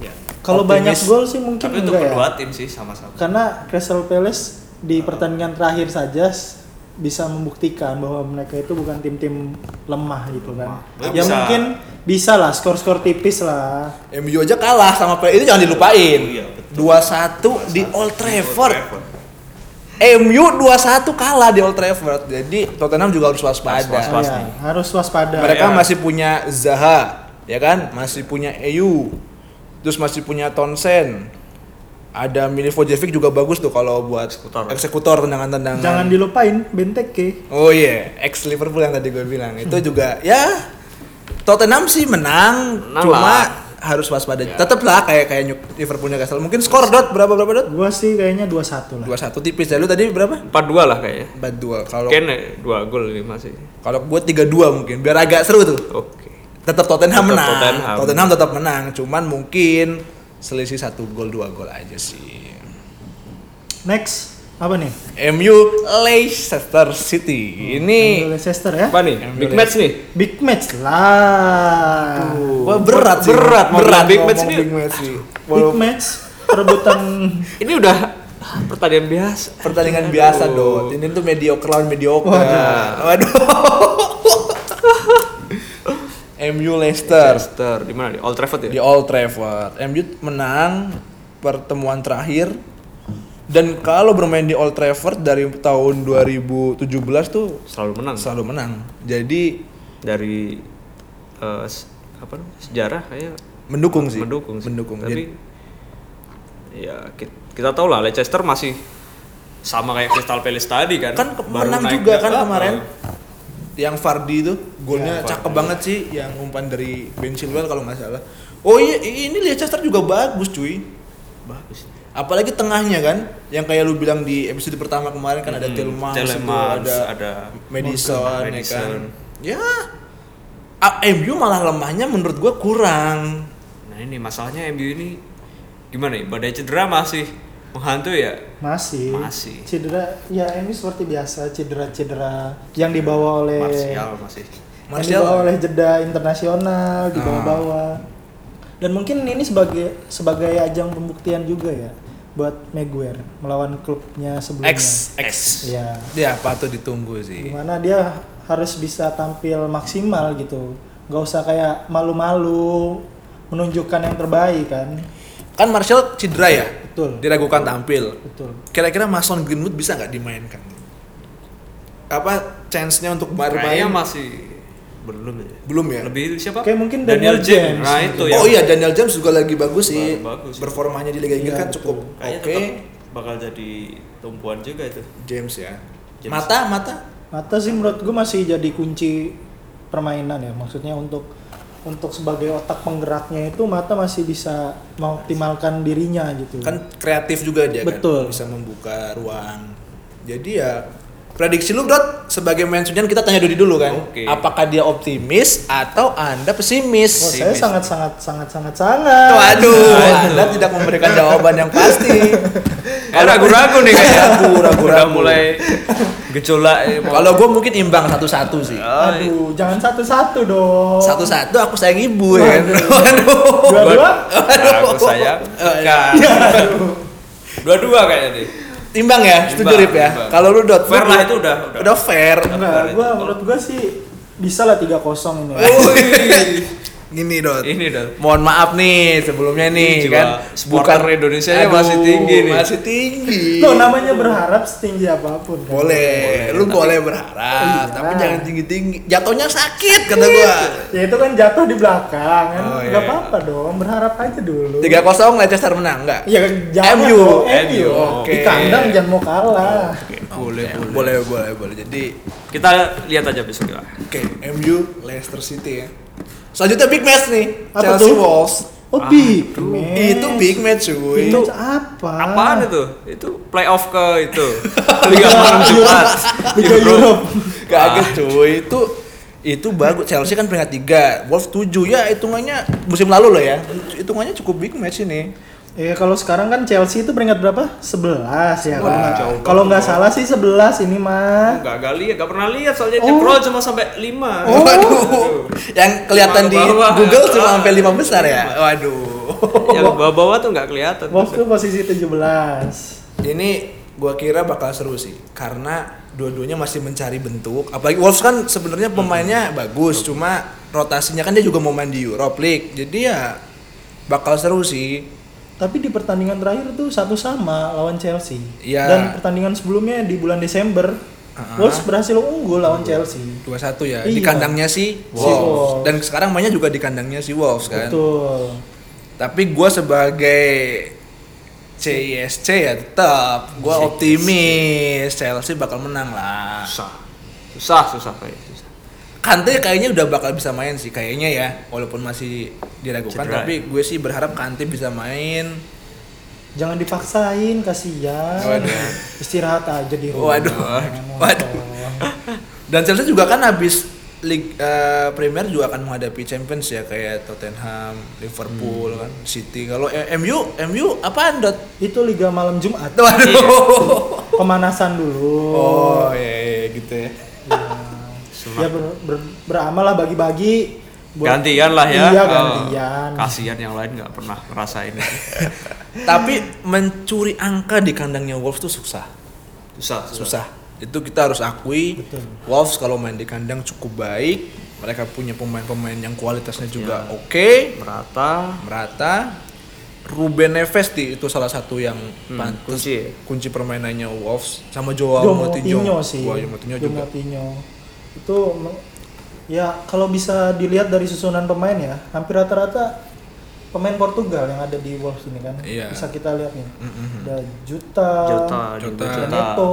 Ya. kalau Optimis. banyak gol sih mungkin Tapi untuk enggak ya. kedua tim sih sama-sama. Karena Crystal Palace di pertandingan terakhir saja s- bisa membuktikan bahwa mereka itu bukan tim-tim lemah gitu kan. Lemah. Ya Bisa. mungkin bisa lah skor-skor tipis lah. MU aja kalah sama Palace. Itu jangan dilupain. Iya, betul. 2-1 di Old Trafford. Old Trafford. MU 2-1 kalah di Old Trafford. Jadi Tottenham juga harus waspada. Harus waspada. Pasti. Ya, harus waspada. Mereka Iya. masih punya Zaha, ya kan? Masih punya EU. Terus masih punya Tonsen. Ada Milivojevic juga bagus tuh kalau buat Eksekutor. eksekutor tendangan-tendangan. Jangan dilupain Benteke. Oh iya, ex Liverpool yang tadi gue bilang itu juga ya Tottenham sih menang, Menang cuma lah. Ya. harus waspada. Tetep lah kayak kayak New- Liverpool Newcastle. Mungkin skor dot berapa berapa dot? Gua sih kayaknya 2-1 lah. 2-1 tipis. Ya, Lu tadi berapa? 4-2 lah kayaknya. 4-2. Kalau Ken 2 gol ini masih. kalau gue 3-2 mungkin biar agak seru tuh. Oke. Tetap Tottenham Tetep menang. Tottenham. Tottenham. tetap menang, cuman mungkin selisih satu gol dua gol aja sih. Next, apa nih? MU Leicester City. Ini Leicester ya. Apa nih? Big match nih. Big match lah. Wah, berat sih. Berat, mau bilang big ngomong match ini. big match sih. Big match perebutan [LAUGHS] Ini udah pertandingan biasa. pertandingan biasa dot ini tuh mediocre lawan mediocre waduh [LAUGHS] MU Leicester Leicester di mana? Di Old Trafford di ya? Old Trafford MU menang pertemuan terakhir dan kalau bermain di Old Trafford dari tahun 2017 tuh Selalu menang. selalu menang jadi Dari eh, s- apa namanya? Sejarah kayak mendukung sih mendukung sih. mendukung Tapi Jadi- ya ki- kita, tahu lah Leicester masih sama kayak Crystal Palace tadi kan. kan ke- Baru menang naik juga kan ke- kemarin yang Fardi itu golnya Fardy. cakep banget sih yang umpan dari Ben Chilwell kalau nggak salah oh iya i- ini Leicester juga bagus cuy Bagus. apalagi tengahnya kan yang kayak lu bilang di episode pertama kemarin kan ada Hmm, Tillmans, itu, Tielemans, ada, ada Madison, ya Madison. kan ya A- MU malah lemahnya menurut gua kurang Nah ini masalahnya MU ini gimana ya? Badai cedera masih menghantui ya. masih. Masih. Cedera ya ini seperti biasa cedera-cedera yang dibawa oleh Martial masih. yang Martial dibawa oleh jeda internasional Ah. dibawa-bawa. Dan mungkin ini sebagai sebagai ajang pembuktian juga ya buat Maguire melawan klubnya sebelumnya. X X Ya. ya patut ditunggu sih Gimana dia harus bisa tampil maksimal gitu. Gak usah kayak malu-malu menunjukkan yang terbaik kan. kan Martial cedera ya Betul. diragukan tampil Betul. kira-kira Mason Greenwood bisa nggak dimainkan? Apa chance-nya untuk Kayaknya bermain? masih belum ya. Belum ya? Lebih siapa? Kayak mungkin Daniel James. Nah itu ya. oh iya Daniel James juga lagi bagus sih. Bagus. Performanya di Liga Inggris Iya, kan betul. cukup oke. Kayaknya tetap bakal jadi tumpuan juga itu. James ya. James. Mata mata Mata sih menurut gue masih jadi kunci permainan ya. Maksudnya untuk untuk sebagai otak penggeraknya itu mata masih bisa mengoptimalkan dirinya gitu. Hmm. kan kreatif juga dia kan Betul. bisa membuka ruang. Jadi ya prediksi lu Brot sebagai mensudian kita tanya Dodi dulu kan. Oke. Apakah dia optimis atau Anda Wah, pesimis? saya Pesimis. sangat sangat sangat sangat sangat. Waduh, Waduh. Anda tidak memberikan jawaban yang pasti. [LAUGHS] Eh ragu-ragu nih kayaknya. Ragu, ragu, Udah ragu. mulai gejolak. eh, mau- Kalau gue mungkin imbang satu-satu sih. Ay, Aduh, jangan satu-satu dong. Satu-satu aku sayang ibu ya. Oh, kan? [LAUGHS] Dua-dua? Aku sayang. iya. Kan. Ya, aduh. Dua-dua kayaknya nih. Imbang ya, setuju Imbang, Rip ya. imbang. Kalau lu dot Fair lu- lah, itu udah, udah. Udah fair. [LAUGHS] Enggak, gua menurut gue sih bisa lah 3-0 ini. Wih. Ini dot. Ini, Dot. Mohon maaf nih sebelumnya nih Ini jiwa kan. supporter Indonesia nya masih tinggi nih. Masih tinggi. Lo namanya berharap setinggi apapun. kan? boleh, Boleh. lu boleh berharap, Iya. tapi jangan tinggi-tinggi. Jatuhnya sakit kata Iya. gua. Ya itu kan jatuh di belakang kan. Oh, Gak iya. apa-apa dong, berharap aja dulu. 3-0 Leicester menang enggak? Iya. Ya jangan MU. dong, MU, oke. Ah, Di kandang jangan mau kalah. Boleh, boleh, boleh, boleh. Jadi, Kita lihat aja besok ya. oke, MU Leicester City ya. Selanjutnya big match nih, Apa Chelsea tuh? Wolves. Oh, big match. Itu big match cuy. Itu apa? Ah. Apaan itu? Itu playoff ke [LAUGHS] itu. Liga Malam Liga Jumat. Iya, Liga Europe. Kaget Iya, cuy, itu itu bagus. Chelsea kan peringkat 3, Wolves 7. Ya hitungannya musim lalu loh ya. Hitungannya cukup big match ini. Ya kalau sekarang kan Chelsea itu peringkat berapa? 11 ya. kalau Wah, nggak- jauh Kalau nggak salah sih 11 ini mah. Gak, gak lihat, gak pernah lihat soalnya Oh. nyebrol cuma sampai 5. Oh. Waduh. Yang kelihatan di Bawah-bawah. Google cuma sampai 5 besar ya. Waduh. [LAUGHS] Yang bawah-bawah tuh gak kelihatan. Wolves tuh posisi 17. [LAUGHS] Ini gua kira bakal seru sih karena dua-duanya masih mencari bentuk. Apalagi Wolves kan sebenarnya pemainnya bagus, cuma rotasinya kan dia juga mau main di Europe League. Jadi ya bakal seru sih. Tapi di pertandingan terakhir tuh satu sama lawan Chelsea. Iya. Dan pertandingan sebelumnya di bulan Desember Ah. Wolves berhasil unggul lawan Chelsea. 2-1 ya di Iya. kandangnya si Si Wolves. Wolves. Dan sekarang mainnya juga di kandangnya si Wolves kan. Betul. Tapi gua sebagai CISC ya tetap gua optimis Chelsea bakal menang lah. Susah. Susah, susah kayak susah. Kante kayaknya udah bakal bisa main sih kayaknya ya walaupun masih diragukan Cedera. tapi gue sih berharap Kante bisa main Jangan dipaksain, kasihan. Waduh. Istirahat aja di rumah. Waduh. Jangan Waduh. nonton. dan Chelsea juga kan habis League eh, Premier juga akan menghadapi Champions ya kayak Tottenham, Liverpool kan, City. Kalau eh, MU, MU apaan dot? Itu liga malam Jumat. [LAUGHS] Waduh. Pemanasan dulu. Oh, iya, iya, gitu ya. Ya ber- ber- beramal lah bagi-bagi. Buat- gantian lah ya. Iya, Oh, gantian. kasihan yang lain nggak pernah ngerasain. Tapi mencuri angka di kandangnya Wolves tuh susah. susah, susah. susah itu kita harus akui Betul. Wolves kalau main di kandang cukup baik mereka punya pemain-pemain yang kualitasnya juga Ya. oke Merata. merata Ruben Neves di- itu salah satu yang Hmm, pantas kunci ya. kunci permainannya Wolves sama Joao Joao Moutinho Moutinho sih. Joao Moutinho Joao juga Moutinho. Itu me- ya kalau bisa dilihat dari susunan pemain ya, hampir rata-rata pemain Portugal yang ada di Wolves ini kan. Iya. Bisa kita lihat nih. Ada Juta, Jota, Jota. Diego ada Jota. Neto,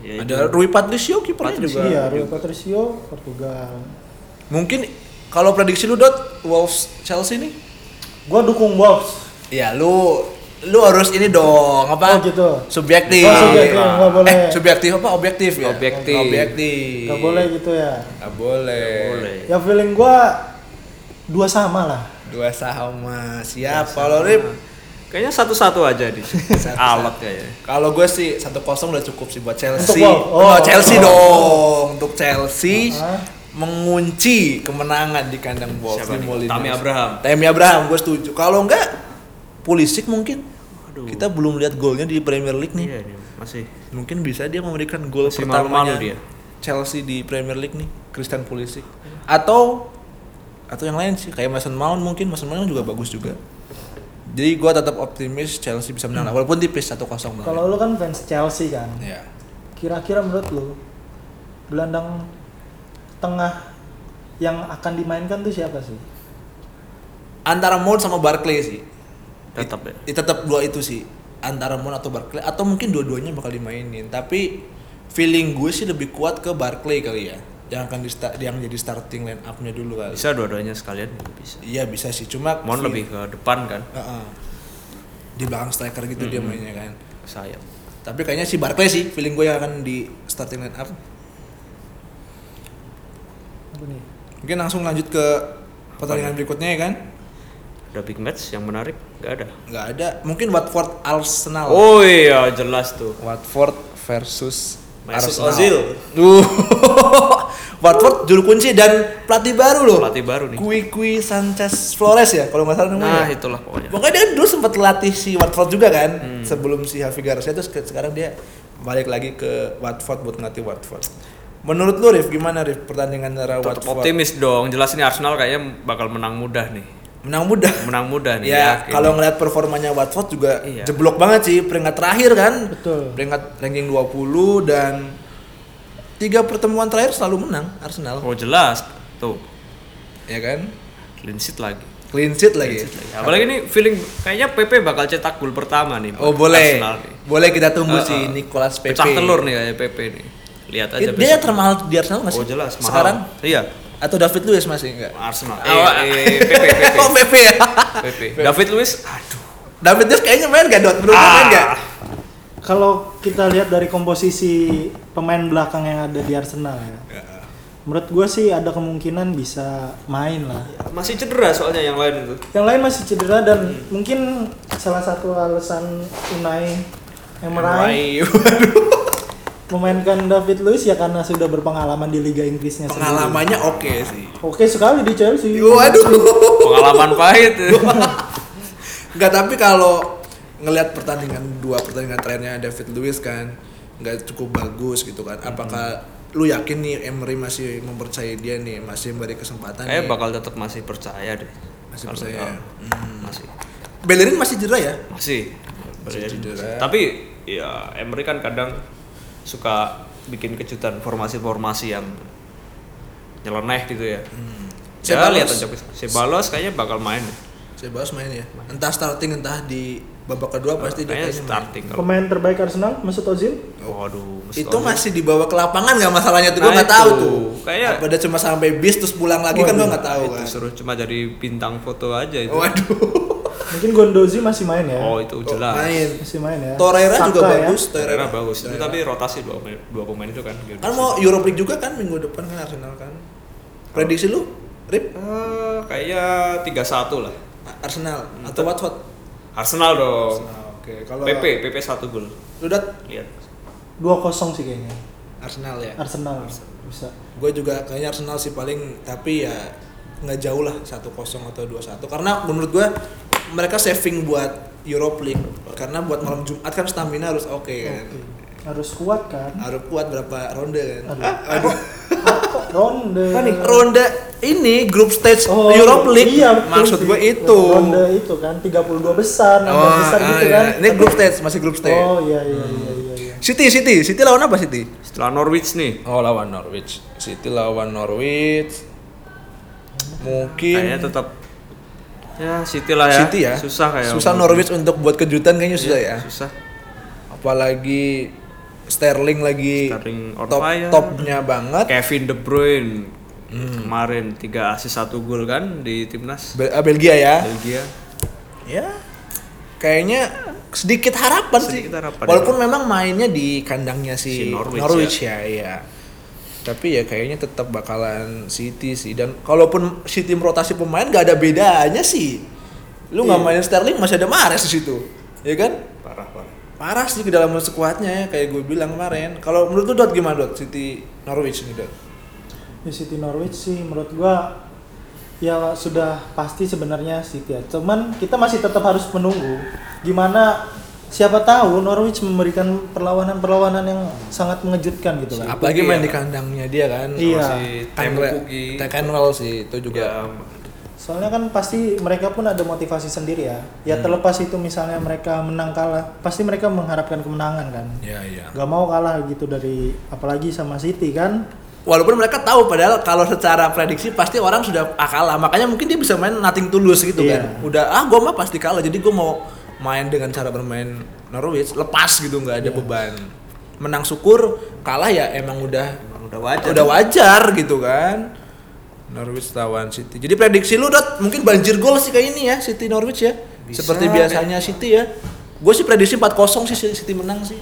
Ya, itu. Ah, ada Rui Patricio kipernya juga iya, Rui Patricio Portugal. mungkin kalau prediksi lu dot Wolves Chelsea nih Gua dukung Wolves. ya lu lu harus ini dong apa Oh, gitu. subjektif Oh, subjektif, nggak boleh. eh subjektif apa objektif ya Objektif. objektif Gak boleh gitu ya. Gak boleh. Boleh. Ya feeling gua dua sama lah. Dua sama. Siapa lo Rip? Kayaknya satu-satu aja di sini. Satu-satu. Alot kayaknya. Kalau gue sih satu kosong udah cukup sih buat Chelsea. Untuk Wolves. Oh. Oh, Chelsea dong. Untuk Chelsea Ah. mengunci kemenangan di kandang Wolves Siapa di nih? Molineux. Tammy Abraham. Tammy Abraham gue setuju. Kalau enggak Pulisic mungkin. Aduh. Kita belum lihat golnya di Premier League nih. Iya, ini masih. Mungkin bisa dia memberikan gol Masih pertamanya malu-malu dia. Chelsea di Premier League nih, Christian Pulisic. Atau atau yang lain sih, kayak Mason Mount mungkin Mason Mount juga bagus juga. Jadi gua tetap optimis Chelsea bisa menang lah, walaupun tipis 1-0 menang. Hmm. Kalau lu kan fans Chelsea kan. ya. Kira-kira menurut lu gelandang tengah yang akan dimainkan tuh siapa sih? Antara Mount sama Barclay sih. Tetap ya. It- tetap dua itu sih. Antara Mount atau Barclay atau mungkin dua-duanya bakal dimainin, tapi feeling gue sih lebih kuat ke Barclay kali ya. Yang akan di sta- yang jadi starting line up-nya dulu kali. Bisa dua-duanya sekalian juga bisa. Iya bisa sih, cuma Mon feel- lebih ke depan kan, Heeh. di belakang striker gitu dia mainnya kan sayap. tapi kayaknya si Barclay sih feeling gue yang akan di starting line up Apa nih? mungkin langsung lanjut ke pertandingan berikutnya ya kan Ada big match yang menarik? Gak ada. nggak ada mungkin Watford Arsenal Oh iya, jelas tuh. Watford versus Mesut Arsenal Ozil. Duh. [LAUGHS] Watford juru kunci dan pelatih baru loh Pelatih baru nih. Kui Kui Sanchez Flores ya kalau nggak salah namanya Nah, ya? itulah pokoknya. Pokoknya dia kan dulu sempat latih si Watford juga kan, Hmm. sebelum si Javi Garcia terus ke- sekarang dia balik lagi ke Watford buat ngelatih Watford. Menurut lu Rif gimana Rif pertandingan antara Tetap Watford? optimis dong. Jelas ini Arsenal kayaknya bakal menang mudah nih. Menang mudah. Menang mudah nih. Ya, yakin. kalau ngeliat performanya Watford juga gitu. Iya. jeblok banget sih peringkat terakhir kan. Betul. Peringkat ranking 20 dan tiga pertemuan terakhir selalu menang Arsenal, Oh jelas. Tuh, ya kan? clean sheet lagi. Clean sheet lagi. Apalagi ini feeling kayaknya PP bakal cetak gol pertama nih. Oh, buat boleh. Arsenal nih. Boleh kita tunggu Uh, uh. sih Nicolas Pepe. Pecah telur nih kayaknya PP nih. Lihat aja Eh, Dia besok. termahal di Arsenal nggak sih? Oh jelas. Mahal. Sekarang? Iya. Atau David Luiz masih enggak? Arsenal. Eh, Oh, [LAUGHS] eh, PP, PP. Oh, Pepe ya. PP. David Luiz. Aduh. David Luiz kayaknya main gak Dot? Belum main gak? Ah. Kalau kita lihat dari komposisi pemain belakang yang ada di Arsenal ya. Menurut gue sih ada kemungkinan bisa main lah. Masih cedera soalnya yang lain itu. Yang lain masih cedera dan mungkin salah satu alasan Unai Emery Meraih. memainkan David Luiz ya karena sudah berpengalaman di Liga Inggrisnya sendiri. Pengalamannya oke sih. Oke sekali di Chelsea. Waduh. Pengalaman pahit. [LAUGHS] Enggak, tapi kalau ngelihat pertandingan dua pertandingan terakhirnya David Luiz kan nggak cukup bagus gitu kan. Hmm. Apakah lu yakin nih Emery masih mempercayai dia nih, masih memberi kesempatan Kayaknya nih? Eh, bakal tetap masih percaya deh. Masih Kalau- percaya. Hmm. oh, Masih. Bellerin masih cedera ya? Masih. Masih cedera. Tapi ya Emery kan kadang suka bikin kejutan formasi-formasi yang nyeleneh gitu ya. Hmm. Saya Ceballos. lihat aja. Sebalos kayaknya bakal main. deh. Saya bahas main ya. Entah starting entah di babak kedua Oh, pasti dia Kayaknya kayaknya main. starting kalau. Pemain terbaik Arsenal Mesut Ozil. Waduh. mesti Itu tahu. masih dibawa ke lapangan nggak masalahnya tuh Nah, gua nggak tahu itu. tuh. Kayak- Apa dia cuma sampai bis terus pulang lagi kan gua nggak tahu Itu kan. suruh cuma jadi bintang foto aja itu. Waduh. Mungkin Gondozi masih main ya. Oh, itu jelas. Main. Masih main iya. ya. Torreira Saka juga ya. bagus, Torreira bagus. Itu tapi rotasi dua pemain, dua pemain itu kan. Kan mau Europe League juga kan minggu depan kan Arsenal kan. Prediksi lu Rip Eh, kayaknya 3-1 lah. A- Arsenal atau Watford? Arsenal Oh. dong. Oke, PP, PP 1 gol. lu dat Lihat. 2-0 sih kayaknya. Arsenal ya. Arsenal bisa. Gue juga kayaknya Arsenal sih paling tapi ya nggak jauh lah 1-0 atau 2-1 karena menurut gue mereka saving buat Europe League karena buat malam Jumat kan stamina harus oke kan. Oke. Harus kuat kan? Harus kuat berapa ronde kan? Aduh. Aduh. Apa? Ronde. Panik. Kan Ronde ini grup stage Oh, Europe League. iya, betul Maksud sih. gue itu. Ronde itu kan 32 besar, 16 besar ah, gitu iya. kan. Ini grup stage, masih grup stage. Oh iya iya iya iya iya. City, City, City lawan apa City? Setelah Norwich nih. Oh lawan Norwich. City lawan Norwich. Kayaknya Mungkin tetap ya City lah ya. City ya. Susah kayak. Iya, Susah Norwich untuk buat kejutan kayaknya susah ya. Susah. Apalagi Sterling lagi Sterling on top fire. topnya banget. Kevin De Bruyne Hmm. kemarin 3 asis 1 gol kan di timnas Bel- ah, Belgia ya. Belgia. Ya. Kayaknya sedikit harapan Sedikit sih. harapan, Walaupun memang mainnya di kandangnya si, Si Norwich, Norwich ya. iya. Tapi ya kayaknya tetap bakalan City sih dan kalaupun City rotasi pemain gak ada bedanya sih. Lu nggak mainin Sterling masih ada Mares di situ. Ya kan? Parah parah. Parah sih kedalaman skuadnya ya kayak gue bilang kemarin. Kalau menurut lu Dot gimana Dot? City Norwich nih Dot. Di City Norwich sih menurut gua ya sudah pasti sebenarnya City ya. Cuman kita masih tetap harus menunggu gimana siapa tahu Norwich memberikan perlawanan-perlawanan yang sangat mengejutkan gitu kan. Apalagi main ya. di kandangnya dia kan. Iya. Si Ya, Temu Pukki. Tekenwell sih itu juga. Juga Soalnya kan pasti mereka pun ada motivasi sendiri ya. Ya terlepas itu misalnya mereka menang kalah, pasti mereka mengharapkan kemenangan kan. Iya, iya. Gak mau kalah gitu dari apalagi sama City kan. Walaupun mereka tahu padahal kalau secara prediksi pasti orang sudah ah, kalah. Makanya mungkin dia bisa main nothing tulus gitu Iya. kan. Udah ah gue mah pasti kalah. Jadi gue mau main dengan cara bermain Norwich lepas gitu nggak ada beban. Menang syukur, kalah ya emang udah udah wajar. udah wajar gitu kan. Norwich lawan City. Jadi prediksi lu Dot mungkin banjir gol sih kayak ini ya City Norwich ya. Bisa, Seperti biasanya City ya. Gue sih prediksi 4-0 sih City menang sih.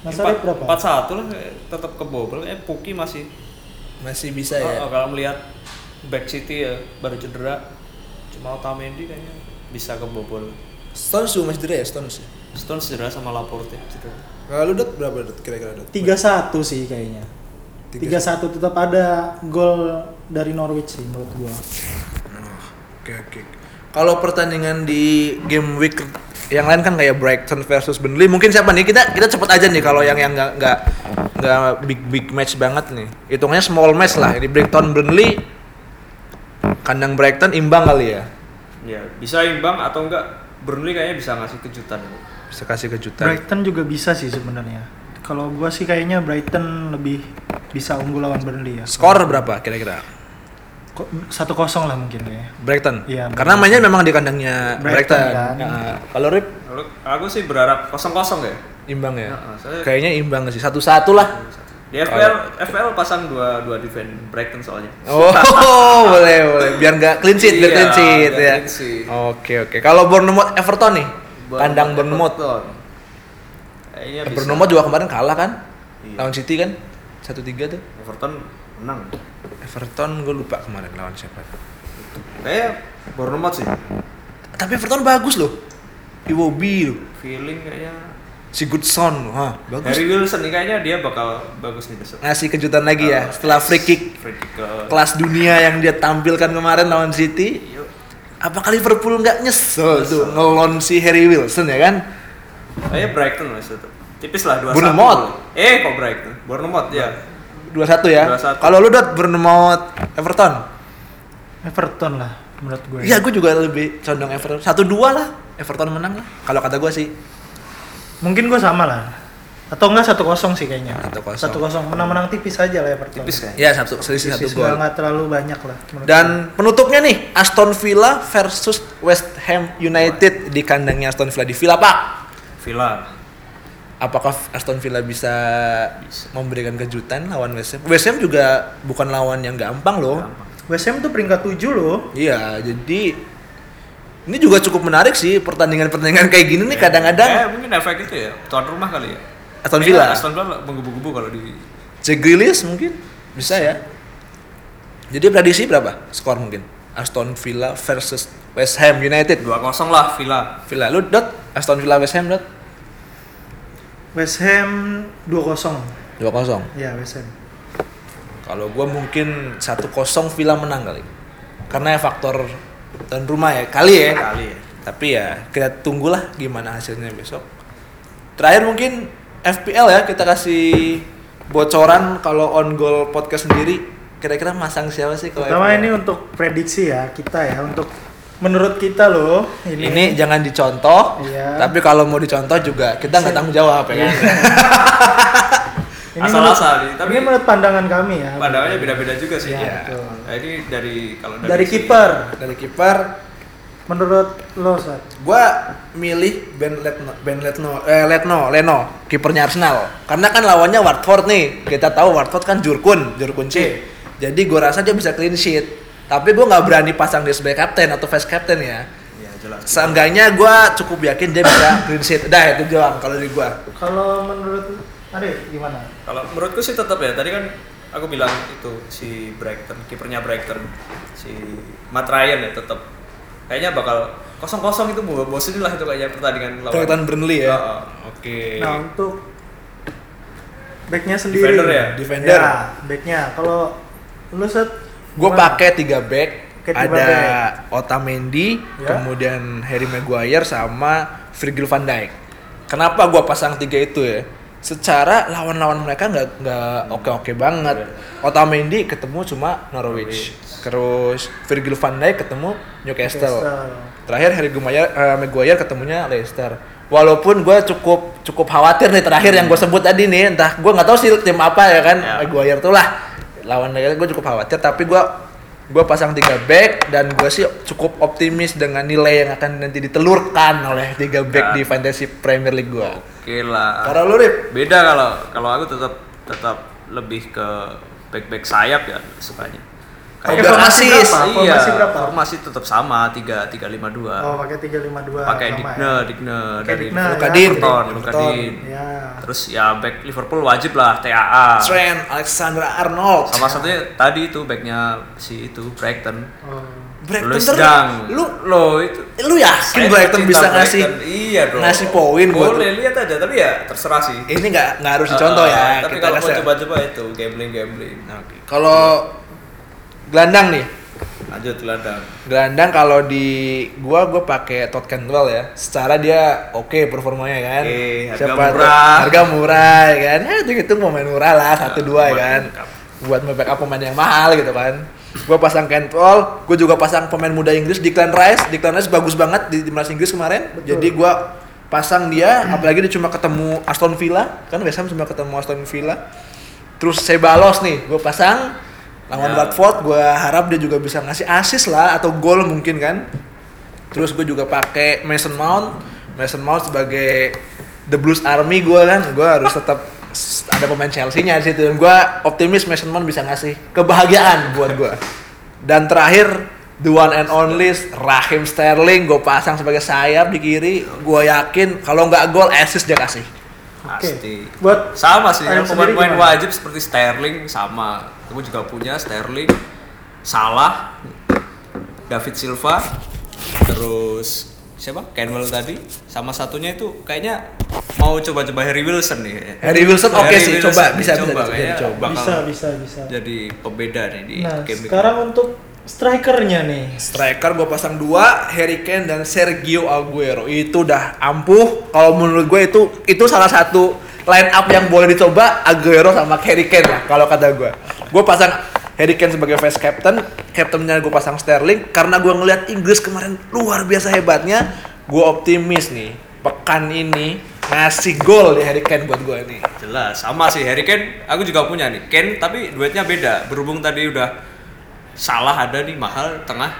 Mas Arief berapa? 4-1 lah eh, tetap kebobol. Eh Puki masih Masih bisa ya. Oh, oh, kalau melihat back City ya baru cedera. Cuma Otamendi kayaknya bisa kebobol. Stones juga masih cedera ya Stones. ya? Stones cedera sama Laporte gitu. cedera. Kalau Eh, lu Dot berapa Dot kira-kira Dot? 3-1 sih kayaknya. Tiga- 3-1 tetap ada gol dari Norwich sih menurut gua. Oke oke. Kalau pertandingan di game week yang lain kan kayak Brighton versus Burnley, mungkin siapa nih? Kita kita cepet aja nih kalau yang yang nggak nggak nggak big big match banget nih. Hitungnya small match lah. Ini Brighton Burnley kandang Brighton imbang kali ya. Ya, bisa imbang atau enggak Burnley kayaknya bisa ngasih kejutan. Bisa kasih kejutan. Brighton juga bisa sih sebenarnya. Kalau gua sih kayaknya Brighton lebih bisa unggul lawan Burnley ya. Skor berapa kira-kira? Satu kosong lah mungkin ya. Brighton. Iya, Karena mainnya memang di kandangnya Brighton. Brighton, kan. Nah, kalau Rip Lalu aku sih berharap 0-0 ya. imbang ya. Nah, saya- Kayaknya imbang sih. Satu-satu lah. Di FPL FPL pasang dua dua defend Brighton soalnya. Oh, [LAUGHS] boleh boleh. Biar nggak clean sheet, biar Iya, clean sheet biar ya. clean sheet. Oke oke. Kalau Bournemouth Everton nih, Bournemouth, kandang Bournemouth. Eh, Everton. Kayaknya bisa. Bournemouth juga kemarin kalah kan? Iya. Lawan City kan? 1-3 tuh. Everton menang. Everton gue lupa kemarin lawan siapa. Kayaknya Bournemouth sih. Tapi Everton bagus loh. Iwobi loh. Feeling kayaknya Si Goodson loh. Hah, Harry bagus. Wilson nih kayaknya dia bakal bagus nih besok. Ngasih kejutan lagi Ah. ya setelah free kick Free kick ke kelas dunia yang dia tampilkan kemarin lawan City. Apakah Liverpool nggak nyesel tuh ngelon si Harry Wilson ya kan? Kayaknya Brighton lah itu. Tipis lah 2-1. Bournemouth. Eh kok Brighton? Bournemouth ya. 2-1 ya. 2-1. Kalau lu dot Bournemouth Everton. Everton lah menurut ya. gue. Iya, gue juga lebih condong Everton. 1-2 lah. Everton menang lah. Kalau kata gue sih Mungkin gue sama lah. Atau enggak satu kosong sih kayaknya. 1-0. Satu kosong menang-menang tipis aja lah Everton. Tipis kayaknya. ya satu selisih Tipis satu nggak- gol. nggak terlalu banyak lah. menurut gue. Dan penutupnya nih Aston Villa versus West Ham United di kandangnya Aston Villa di Villa Park. Villa. Apakah Aston Villa bisa, Bisa. memberikan kejutan lawan West Ham? West Ham juga bukan lawan yang gampang loh. Gampang. West Ham tuh peringkat 7 loh. Iya, jadi ini juga cukup menarik sih pertandingan-pertandingan kayak gini nih kadang-kadang Eh, mungkin efek itu ya, tuan rumah kali ya. Aston Kayaknya Villa. Aston Villa menggebu-gebu kalau di Jack Grealish mungkin bisa ya. Jadi prediksi berapa skor mungkin? Aston Villa versus West Ham United. 2-0 lah Villa. Villa lu dot Aston Villa West Ham dot West Ham 2-0. 2-0. Ya West Ham. Kalau gua mungkin 1-0 Villa menang kali. Karena ya faktor dan rumah ya kali ya. Kali ya. Tapi ya kita tunggulah gimana hasilnya besok. Terakhir mungkin FPL ya kita kasih bocoran kalau on goal podcast sendiri kira-kira masang siapa sih kalau Pertama FPL? ini untuk prediksi ya kita ya untuk menurut kita loh ini, jangan dicontoh Iya. tapi kalau mau dicontoh juga kita nggak tanggung jawab ya kan? Ini Asal-asal menurut- nih, tapi- ini menurut pandangan kami ya. Pandangannya beda-beda juga sih. Iya, Iya. betul. Nah, ini dari kalau dari, Dari si- kiper, dari kiper menurut lo Sat. gua milih Ben Letno Ben Letno eh Letno Leno kipernya Arsenal karena kan lawannya Watford nih kita tahu Watford kan Jurkun Jurkun C jadi gua rasa dia bisa clean sheet tapi gua nggak berani pasang dia sebagai kapten atau vice captain ya Iya, jelas. seenggaknya gua cukup yakin dia bisa clean sheet dah itu doang kalau dari gua Kalau menurut Arif gimana? Kalau menurutku sih tetap ya. Tadi kan aku bilang itu si Brighton, kipernya Brighton, si Matt Ryan ya tetap. Kayaknya bakal kosong-kosong itu mau bosenin lah itu kayaknya pertandingan lawan. Brighton Burnley ya Oh, Oke. Nah untuk backnya sendiri. Defender ya? Defender. Ya, backnya. Kalau lu Sat, Gue gimana? pakai tiga back, Pakai tiga ada back. Otamendi, Ya. kemudian Harry Maguire sama Virgil van Dijk. Kenapa gue pasang tiga itu ya? Secara lawan-lawan mereka nggak nggak Hmm. oke-oke banget. Ya. Otamendi ketemu cuma Norwich, terus Virgil van Dijk ketemu Newcastle. Newcastle. Terakhir Harry Maguire, eh, Maguire ketemunya Leicester. Walaupun gue cukup cukup khawatir nih terakhir yang gue sebut tadi nih, entah gue nggak tahu sih tim apa ya kan, Hmm. Ya. Maguire tuh lah lawan Leicester gue cukup khawatir, tapi gue gue pasang tiga back dan gue sih cukup optimis dengan nilai yang akan nanti ditelurkan oleh tiga back Ya. Ah. di fantasy Premier League gue. Oke lah. Para lu Rip, beda kalau kalau aku tetap tetap lebih ke back back sayap ya sukanya Biar Pakai formasi asis. berapa? iya Formasi berapa? formasi tetap sama tiga tiga lima Oh, dua pakai 352. pakai sama Digne Digne Pakai dari Digne, Luka ya. Din. Everton Luka Everton. Din. Ya. terus ya back Liverpool wajib lah TAA Trent, Alexander Arnold. Ah. sama satunya tadi itu backnya si itu Brighton Oh. Brighton Luis tuh- Dang. lu lo itu lu yakin Saya Brighton cinta bisa Brighton. ngasih iya dong ngasih poin buat- boleh lihat aja tapi ya terserah sih ini nggak nggak harus dicontoh ya Ah, tapi kalau mau coba-coba itu gambling gambling Kalau gelandang nih, lanjut gelandang Gelandang kalau di gua gua pakai Todd Cantwell ya. Secara dia oke performanya kan. Oke, harga Siapa tuh- murah. Ah, Harga murah ya kan. Eh, itu itu pemain murah lah satu dua ya buat kan. backup. Buat nge-backup pemain yang mahal gitu kan. Gua pasang Cantwell, gua juga pasang pemain muda Inggris Declan Rice. Declan Rice bagus banget di timnas Inggris kemarin. Betul. Jadi gua pasang dia apalagi dia cuma ketemu Aston Villa kan biasanya cuma ketemu Aston Villa terus Sebalos nih gue pasang Ya. lawan Watford gue harap dia juga bisa ngasih assist lah atau gol mungkin kan terus gue juga pakai Mason Mount Mason Mount sebagai the Blues Army gue kan gue harus tetap s- ada pemain Chelsea-nya di situ dan gue optimis Mason Mount bisa ngasih kebahagiaan buat gue dan terakhir the one and only Raheem Sterling gue pasang sebagai sayap di kiri gue yakin kalau nggak gol assist dia kasih pasti Buat sama sih Ayam yang sendiri pemain-pemain gimana? wajib seperti Sterling sama aku juga punya Sterling Salah David Silva terus siapa Kenwell tadi sama satunya itu kayaknya mau coba-coba Harry Wilson nih kayaknya. Harry Wilson oke Harry sih, Wilson coba, bisa, dicoba, bisa, bisa, kayaknya dicoba. bakal bisa bisa bisa. jadi pembeda nih di Nah, game week. sekarang untuk strikernya nih. Striker gue pasang dua, Harry Kane dan Sergio Aguero. Itu udah ampuh. Kalau menurut gue itu itu salah satu line up yang boleh dicoba Aguero sama Harry Kane lah kalau kata gue. Gue pasang Harry Kane sebagai vice captain, captainnya gue pasang Sterling karena gue ngelihat Inggris kemarin luar biasa hebatnya. Gue optimis nih pekan ini ngasih gol di Harry Kane buat gue nih. Jelas, sama sih Harry Kane. Aku juga punya nih. Kane tapi duetnya beda. Berhubung tadi udah salah ada di mahal tengah.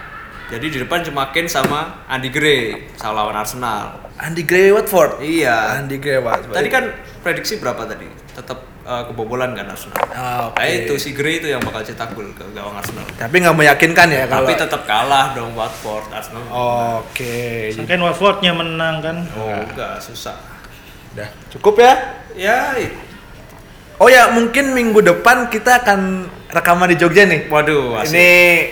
Jadi di depan cuma Kane sama Andy Gray sama lawan Arsenal. Andy Gray Watford. Iya. Andy Gray Watford. Tadi kan prediksi berapa tadi? Tetap eh, kebobolan kan Arsenal. Ah, oke. Nah, itu si Gray itu yang bakal cetak gol ke gawang Arsenal. tapi nggak meyakinkan ya kalau. Tapi tetap kalah dong Watford Arsenal. Oke. Sangkain Watfordnya menang kan. Oh, enggak susah. Udah cukup ya. Ya, i- Oh ya, mungkin minggu depan kita akan rekaman di Jogja nih. waduh, asik. Ini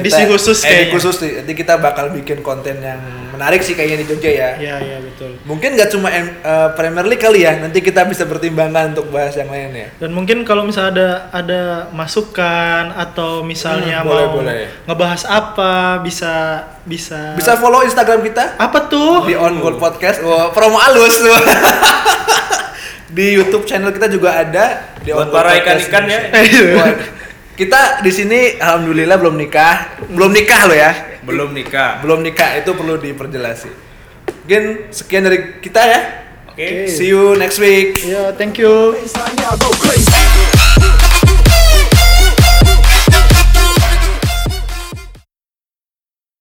Edisi kita- khusus edisi kayaknya. khusus nih. Nanti kita bakal bikin konten yang menarik sih kayaknya di Jogja ya. Iya iya betul. Mungkin nggak cuma M- eh, Premier League kali ya. Nanti kita bisa pertimbangkan untuk bahas yang lain ya. Dan mungkin kalau misalnya ada ada masukan atau misalnya Hmm, boleh, mau boleh. ngebahas apa bisa bisa Bisa follow Instagram kita apa tuh? di On Goal Podcast. Wah, promo alus. [LAUGHS] di YouTube channel kita juga ada di Buat On Goal para Podcast. ikan-ikan ya. Buat- kita di sini alhamdulillah belum nikah, belum nikah loh ya. belum nikah. belum nikah itu perlu diperjelas sih. Mungkin sekian dari kita ya. Oke. See you next week. Ya, thank you. Baseline, y'all go crazy.